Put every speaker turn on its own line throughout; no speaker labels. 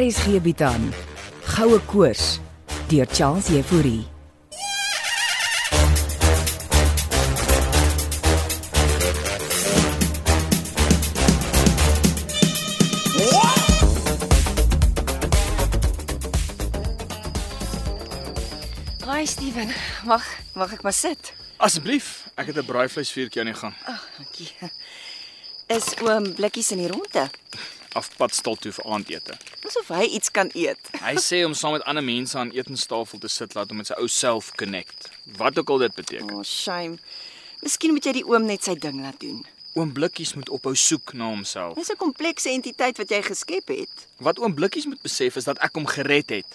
RSG bied aan Goue Koors deur Charles Euphorie.
Hi Steven, mag mag ek maar sit?
Asseblief, ek het 'n braaivleisvuurtjie aan die gang.
Dankie. Is oom blikkies in die ronde?
Afpad stil toe vir aandete.
Asof hy iets kan eet.
Hy sê om saam met ander mense aan etenstafel te sit laat hom met sy ou self connect. Wat ook al dit beteken.
Oh shame. Miskien moet jy die oom net sy ding laat doen.
Oom Blikkies moet ophou soek na homself.
Dis 'n komplekse entiteit wat jy geskep het.
Wat oom Blikkies moet besef is dat ek hom gered het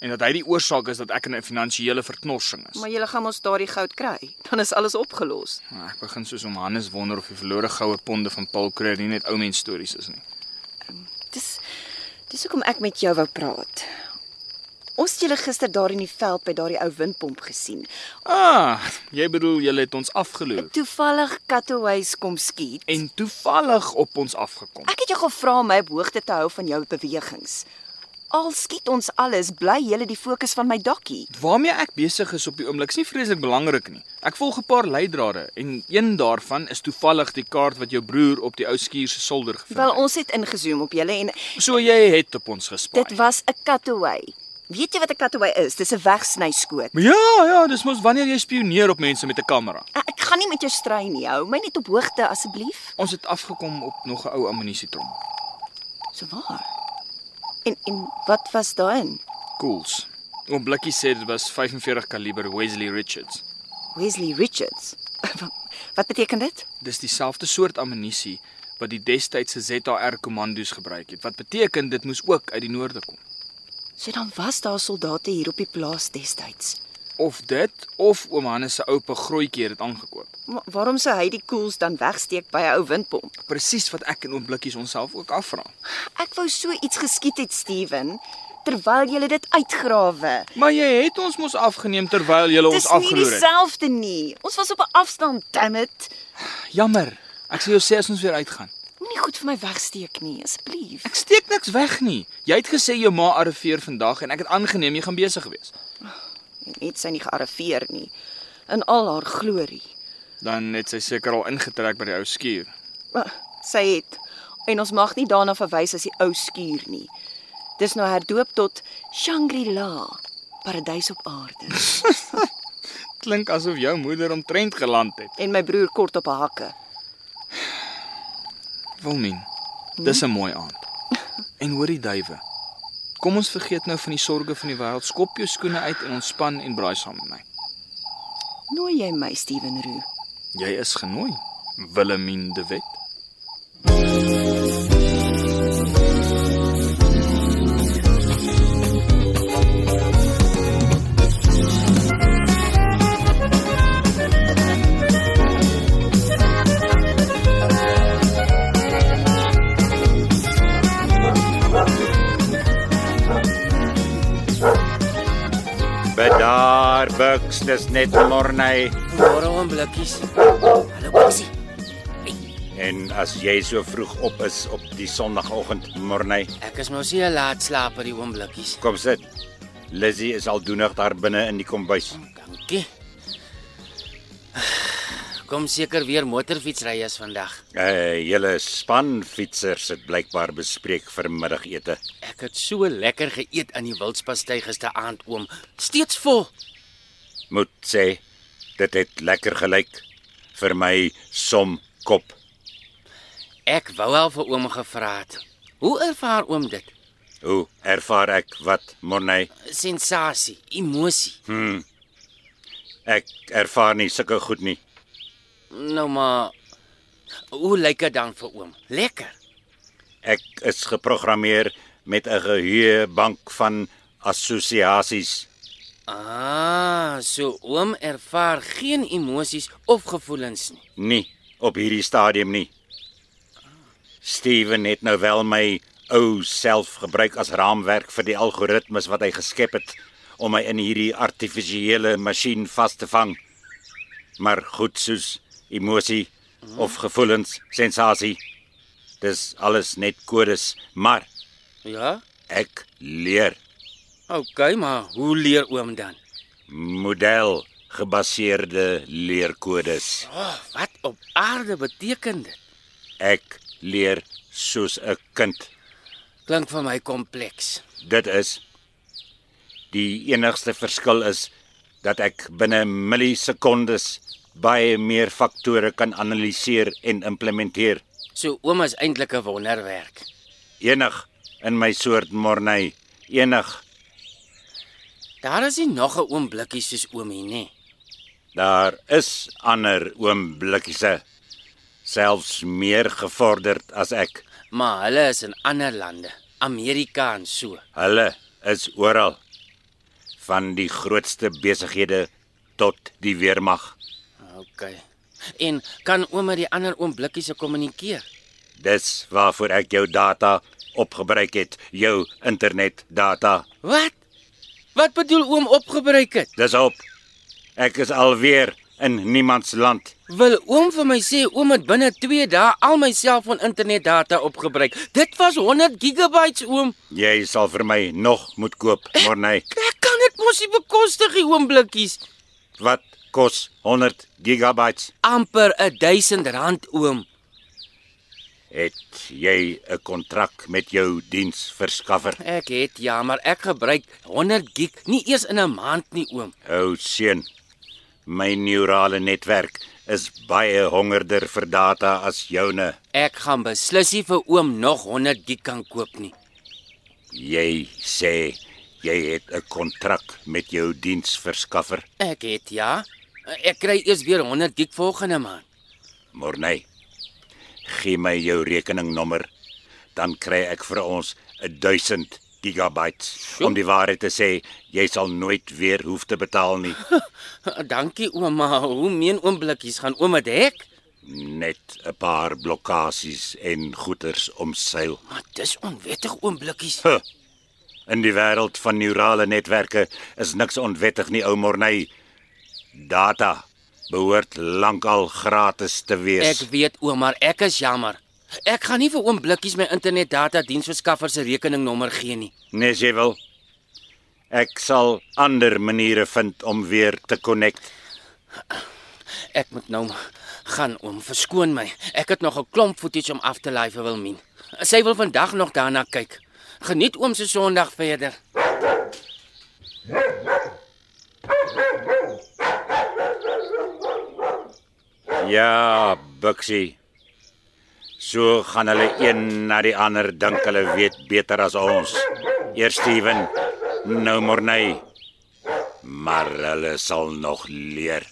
en dat hy die oorsaak is dat ek in 'n finansiële verknorsing is.
Maar jy gaan mos daardie goud kry. Dan is alles opgelos.
Maar Nou, ek begin soos om Hannes wonder of die verlore goue ponde van Paul Creer nie net ou mens stories is nie.
Dis dis hoekom ek met jou wou praat. Ons het julle gister daar in die veld by daardie ou windpomp gesien.
Ah, jy bedoel jy het ons afgeloer
Toevallig Catoways kom skiet.
en toevallig op ons afgekom.
Ek het jou gevra om my op hoogte te hou van jou bewegings. Al skiet ons alles, bly julle die fokus van my dokkie.
Waarmee ek besig is op die oomblik is nie vreeslik belangrik nie. Ek volg 'n paar leidrade en een daarvan is toevallig die kaart wat jou broer op die ou skuur se solder gevind
Wel
het.
ons het ingezoom op julle en
So jy het op ons gespaai.
dit was 'n cutaway. Weet jy wat 'n cutaway is? Dis 'n wegsny skoot.
Ja, ja, dis mos wanneer jy spioneer op mense met 'n kamera.
Ah, Ek ek gaan nie met jou strei nie. Hou my net op hoogte asseblief.
Ons het afgekom op nog 'n ou ammunisietron.
So waar. En en wat was daarin?
Cools. Oom Blikkie sê dit was 45 kaliber Wesley Richards.
Wesley Richards. Wat- wat beteken dit?
Dis dieselfde soort ammunisie wat die destydse ZAR kommandos gebruik het. Wat beteken dit moes ook uit die noorde kom.
So dan was daar soldate hier op die plaas destyds.
Of dit of oom Hannes se oupa grootjie het dit aangekoop.
Maar waarom sou hy die koels dan wegsteek by 'n ou windpomp?
Presies wat ek in oomblikkies onsself ook afvra.
Ek wou so iets geskiet het, Steven, terwyl jy dit uitgrawe.
Maar jy het ons mos afgeneem terwyl jy ons
Dis nie
afgeloer het.
dieselfde nie. Ons was op 'n afstand, damn it.
Jammer. Ek sê jou sê as ons weer uitgaan.
Moenie goed vir my wegsteek nie, asseblief.
Ek steek niks weg nie. Jy het gesê jou ma arriveer vandag en ek het aangeneem jy gaan besig wees.
Net sy nie gearriveer nie in al haar glorie.
Dan het sy seker al ingetrek by die ou skuur.
Maar Sy het en ons mag nie daarna verwys as die ou skuur nie. Dis nou herdoop tot Shangri-La, paradys op aarde.
Klink asof jou moeder omtrent geland het.
En my broer kort op 'n hakke.
Wilmien. Dis 'n mooi aand. En hoor die duwe. Kom ons vergeet nou van die sorges van die wêreld. Skop jou skoene uit en ontspan en braai saam met my.
Nooi jy my, Steven Roo?
Jy is genooi. Willemien de Wet.
Bedaar Bucks, dis net 'n morney
Môre oom blikkies. Hallo Boksie.
en as jy so vroeg op is op die sonoggend morney,
Ek is mos hier laat slaap by die oom blikkies.
kom sit. Lizzie is al doenig daar binne in die kombuis.
Dankie. Kom seker weer motorfietsry as vandag.
'n uh, Hele span fietsers het blykbaar bespreek vir middagete.
Ek het so lekker geëet aan die wildspastei gisteraand oom. Steeds vol.
Moet sê, dit het lekker gelyk vir my som kop.
Ek wou al vir oom gevra het. Hoe ervaar oom dit?
Hoe ervaar ek wat morney? Hmm.
Sensasie, emosie.
Ek ervaar nie sulke goed nie.
Nou maar hoe lyk dit dan vir oom? Lekker.
Ek is geprogrammeer met 'n geheue bank van assosiasies.
Ah, so oom ervaar geen emosies of gevoelens nie.
Nie op hierdie stadium nie. Steven het nou wel my ou self gebruik as raamwerk vir die algoritmes wat hy geskep het om my in hierdie artifisiële masjien vas te vang. Maar goed soos emosie of gevoelens, sensasie. Dis alles net kodes, maar
Ja?
Ek leer
OK, maar hoe leer oom dan?
model gebaseerde leerkodes.
O, oh, wat op aarde beteken dit?
Ek leer soos 'n kind.
Klink vir my kompleks.
Dit is die enigste verskil is dat ek binne millisekondes baie meer faktore kan analiseer en implementeer.
So oom is eintlik 'n wonderwerk.
Enig in my soort Morney, enig
Daar is nie nog 'n oom blikkie soos oom hier nie.
Daar is ander oomblikkiese selfs meer gevorderd as ek.
Maar hulle is in ander lande, Amerika en so.
Hulle is oral van die grootste besighede tot die weermag.
OK. En kan oom met die ander oom blikkies se kommunikeer?
Dis waarvoor ek jou data opgebruik het, jou internetdata.
Wat? Wat bedoel oom opgebruik het?
Dis op. Ek is alweer in niemands land.
Wil oom vir my sê oom het binne 2 dae al my selfoon internetdata opgebruik? Dit was 100 gigabytes oom.
Jy sal vir my nog moet koop, Morney.
Ek kan dit mos nie bekostig nie oom blikkies.
Wat kos 100 gigabytes?
Amper 'n 1000 rand oom.
Het jy 'n kontrak met jou diensverskaffer?
Ek het ja, maar ek gebruik 100 gig nie eers in 'n maand nie oom.
Ou seun, my neurale netwerk is baie hongerder vir data as joune.
Ek gaan beslis nie vir oom nog 100 gig kan koop nie.
Jy sê jy het 'n kontrak met jou diensverskaffer.
Ek het ja. Ek kry eers weer 100 gig volgende maand.
Morney, gee my jou rekeningnommer, dan kry ek vir ons 'n 1000 gigabytes. Om die waarheid te sê, jy sal nooit weer hoef te betaal nie.
Dankie oom, maar hoe meen oom blikkies gaan oom dit hek?
Net 'n paar blokkades en goeters omseil.
Maar dis onwettig oom blikkies.
Huh. In die wêreld van neurale netwerke is niks onwettig nie, ou Morney. Data behoort lankal gratis te
Ek
wees.
weet oom, maar ek is jammer. Ek gaan nie vir oom blikkies my internetdata diensverskaffer se rekeningnommer gee nie.
Nee, jy wil. Ek sal ander maniere vind om weer te connect.
Ek moet nou maar gaan oom, verskoon my. Ek het nog 'n klomp footage om af te laai vir Wilmien. Sy wil vandag nog daarna kyk. Geniet oom se Sondag verder.
Ja, Buxie. So gaan hulle een na die ander dink hulle weet beter as ons. Eers Steven, nou Morney. Maar hulle sal nog leer.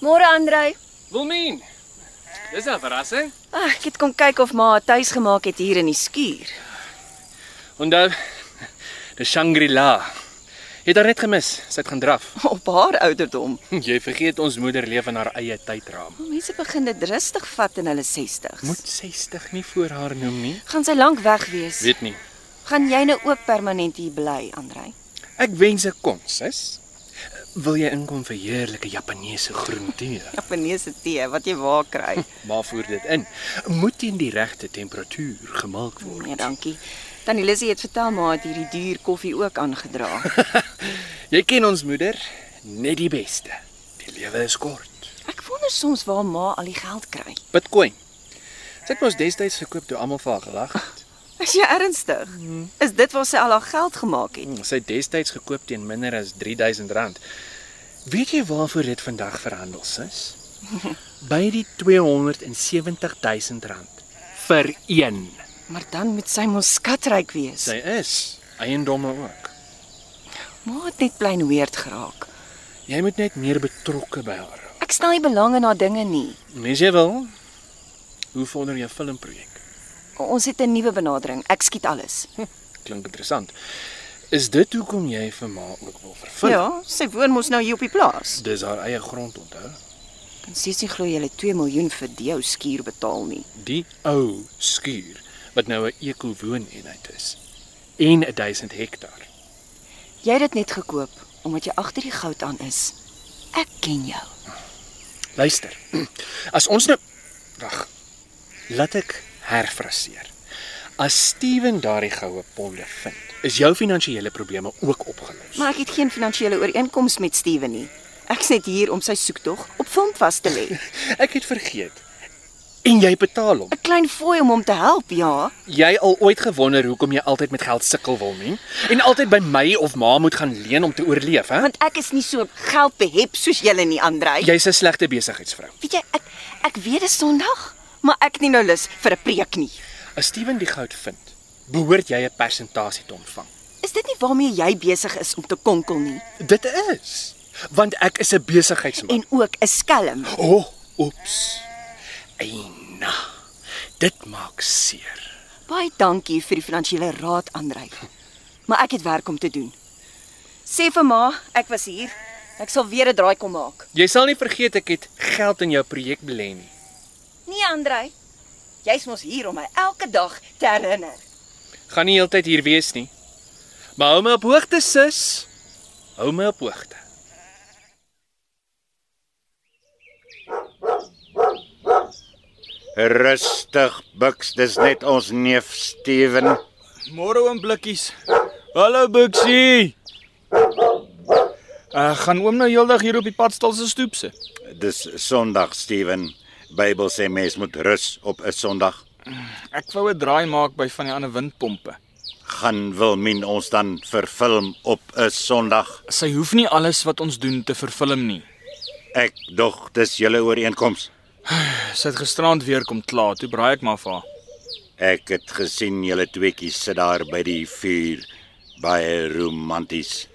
Môre Andrej.
Wilmien. Dis 'n verrassing.
Ag, Ah, ek het kom kyk of ma 'n tuis gemaak het hier in die skuur.
Onthou, dis Shangri-La. Jy het haar net gemis. Sy het gaan draf.
Op haar ouderdom.
Jy vergeet ons moeder leef in haar eie tydraam.
Mense begin dit rustig vat in hulle 60's.
Moet 60 nie voor haar noem nie.
gaan sy lank weg wees.
Weet nie.
Gaan jy nou ook permanent hier bly, Andrej?
Ek wens ek kon, sis. Wil jy inkom vir heerlike Japaneese groen tee?
Japaneese Ja, tee wat jy waar kry.
Maar voer dit in. Moet teen die regte temperatuur gemaak word.
Nee, dankie. Tannie Lissy het vertel maar het hierdie duur koffie ook aangedra.
Jy ken ons moeder, net die beste. Die lewe is kort.
Ek wonder soms waar ma al die geld kry.
Bitcoin. Sy het mos destyds gekoop toe almal vir haar gelag het.
Is jy ernstig? Is dit waar sy al haar geld gemaak het?
Sy het destyds gekoop teen minder as R3000. Weet jy waarvoor dit vandag verhandel, sis? By die R270000 vir een.
Maar dan moet sy mos skatryk wees.
Sy is eiendomme ook.
Ma het net plain weird geraak.
Jy moet net meer betrokke by haar raak.
Ek stel nie belang in haar dinge nie.
Mens jy wil. Hoe vorder jou filmprojek?
Ons het 'n nuwe benadering. Ek skiet alles.
Klink interessant. Is dit hoekom jy vir ma ook wil vervul?
Ja, sy woon mos nou hier op die plaas.
Dis haar eie grond, onthou?
Kan steeds nie glo jy het 2 miljoen vir die ou skuur betaal nie.
Die ou skuur wat nou 'n eko-wooneenheid is en 1000 hektaar.
Jy het dit net gekoop omdat jy agter die goud aan is. Ek ken jou.
Luister. As ons nou wag. Laat ek herfraseer. As Steven daardie goue ponde vind, is jou finansiële probleme ook opgelos.
Maar ek het geen finansiële ooreenkoms met Steven nie. Ek's net hier om sy soektog op film vas te lê.
ek het vergeet. En jy betaal hom.
'n Klein fooi om hom te help, ja.
Jy al ooit gewonder hoekom jy altyd met geld sukkel wil nie en altyd by my of ma moet gaan leen om te oorleef, hè?
Want ek is nie so geldbehep soos julle nie, Andrej.
Jy's 'n slegte besigheidsvrou.
Weet jy, ek ek weet dis Sondag, maar ek het nie nou lus vir 'n preek nie.
As Steven die goud vind, behoort jy 'n persentasie te ontvang.
Is dit nie waarmee jy besig is om te konkel nie
Dit is want ek is 'n besigheidsman.
en ook 'n skelm?
O, oh, oeps. Eina. Dit maak seer.
Baie dankie vir die finansiële raad, Andrej. Maar ek het werk om te doen. Sê vir ma, ek was hier. Ek sal weer 'n draai kom maak.
Jy sal nie vergeet ek het geld in jou projek belê nie.
Nee, Andrej. Jy's mos hier om my elke dag te herinner.
Gaan nie heeltyd hier wees nie. Maar hou my op hoogte, sis. Hou my op hoogte.
Rustig, Buks, dis net ons neef Steven.
Môre oom blikkies. Hallo Bixie. Uh, gaan oom nou heeldag hier op die padstal se stoep sit?
Dis Sondag, Steven. Bybel sê mens moet rus op 'n Sondag.
Ek wou 'n draai maak by van die ander windpompe.
Gaan Wilmien ons dan verfilm op 'n Sondag?
Sy hoef nie alles wat ons doen te vervilm nie.
Ek dog dis julle ooreenkoms.
Sy het gisterand weer kom kla, toe braai ek maar vir haar.
Ek het gesien julle tweeetjies sit daar by die vuur, baie romanties.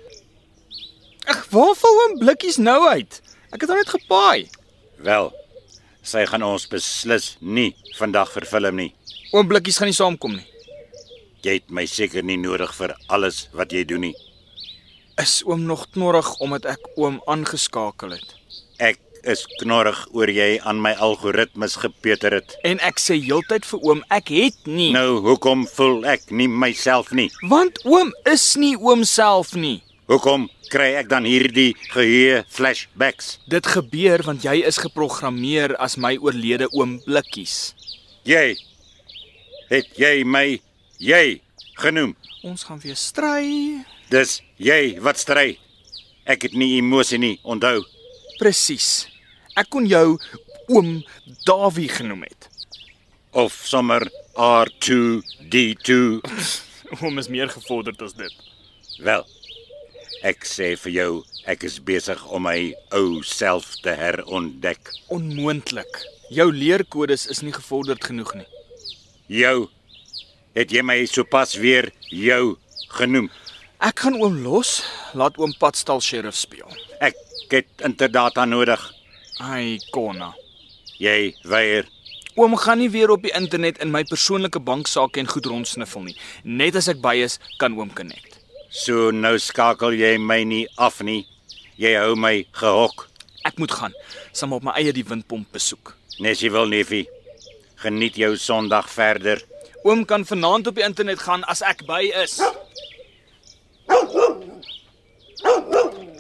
Ag, waar val oom blikkies nou uit? Ek het hom net gepaai.
Wel, sy gaan ons beslis nie vandag verfilm nie.
Oom blikkies gaan nie saamkom nie.
Jy het my seker nie nodig vir alles wat jy doen nie.
Is oom nog knorrig omdat ek oom aangeskakel het?
Ek is knorrig oor jy aan my algoritmes gepeter het.
En ek sê heeltyd vir oom, ek het nie.
Nou hoekom voel ek nie myself nie?
Want oom is nie oom self nie.
Hoekom kry ek dan hierdie geheue flashbacks?
Dit gebeur want jy is geprogrammeer as my oorlede oom Blikkies.
Jy het jy my jy genoem.
Ons gaan weer stry.
Dis jy wat stry. Ek het nie emosie nie, onthou.
Presies. Ek kon jou oom Dawie genoem het.
Of sommer R2D2.
Oom is meer gevorderd as dit.
Wel. Ek sê vir jou, ek is besig om my ou self te herontdek.
Onmoontlik. Jou leerkodes is nie gevorderd genoeg nie.
Jou het jy my sopas weer jou genoem.
Ek gaan oom los, laat oom Padstal sheriff speel.
Ek het interdata nodig.
Ai, Konna.
Jy weier.
Oom gaan nie weer op die internet in my persoonlike banksaak en goed rondsniffel nie. Net as ek by is, kan oom connect.
So nou skakel jy my nie af nie. Jy hou my gehok.
Ek moet gaan, saam op my eie die windpomp besoek.
Nes jy wil, neefie. Geniet jou Sondag verder.
Oom kan vanaand op die internet gaan as ek by is.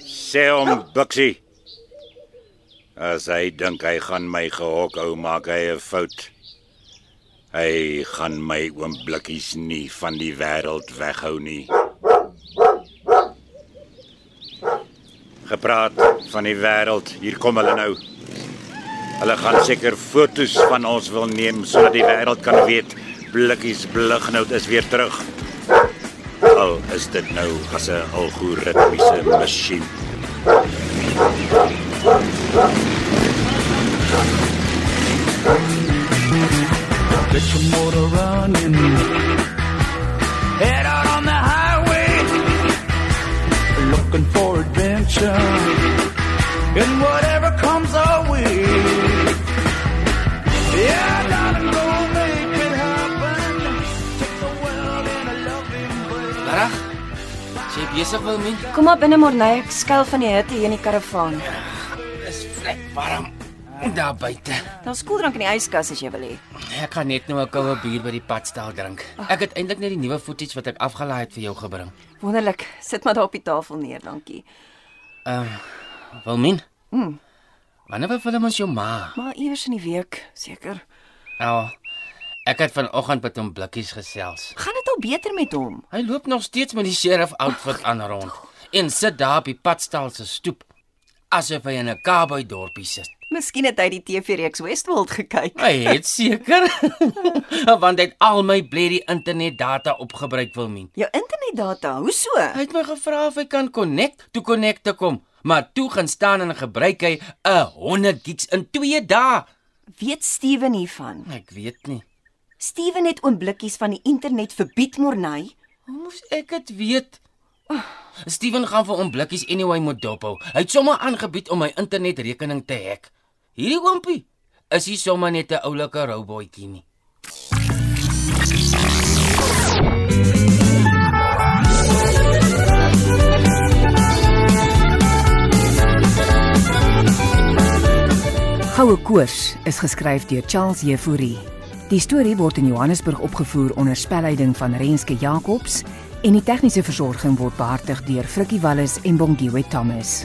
Sê hom, Buxie. As hy dink hy gaan my gehok hou, maak hy 'n fout. Hy gaan my oom blikkies nie van die wêreld weghou nie. Gepraat van die wêreld, hier kom hulle nou. Hulle gaan seker fotos van ons wil neem sodat die wêreld kan weet blikkies blignout is weer terug. Al is dit nou as 'n algoritmiese masjien.
Get your motor running. Head out on the highway. Looking for adventure. And whatever comes our way. Yeah, darling, go make it happen.
besig Wilmien?
Kom maar binne Morney, ek skuil van die hitte hier in die karavaan.
Dis vlek warm daar buite.
Daar's koeldrank in die yskas as jy wil hê.
Ek gaan net nou 'n koue bier by die padstal drink. Ek het eintlik net die nuwe footage wat ek afgelaai het vir jou gebring.
Wonderlik. Sit maar daar op die tafel neer, dankie.
Wilmien? Mm. Wanneer beveel ons jou ma?
Maar iewers in die week, seker.
Nou, ek het vanoggend met hom blikkies gesels.
Gaan dit al beter met hom?
Hy loop nog steeds met die sheriff outfit aan rond en sit daar op die padstal se stoep asof hy in 'n cowboy dorpie sit.
Miskien het hy die TV-reeks Westworld gekyk.
Hy het seker want hy het al my blerrie internet data opgebruik Wilmien.
Jou internetdata, hoe so?
Hy het my gevra of hy kan connect toe connect te kom, maar toe gaan staan en gebruik hy 'n 100 gigs in 2 dae.
Weet Steven hiervan?
Ek weet nie.
Steven het oomblikkies van die internet verbied Morney.
Hoe moes ek dit weet? Steven gaan vir hom blikkies anyway moet dophou. Hy het sommer aangebied om my internetrekening te hack. Hierdie oompie is hier sommer net 'n oulike rouboetjie nie.
Goue Koors is geskryf deur Charles Jefouri. Die storie word in Johannesburg opgevoer onder spelleiding van Renske Jacobs en die tegniese versorging word behartig deur Frikkie Wallis en Bongwe Thomas.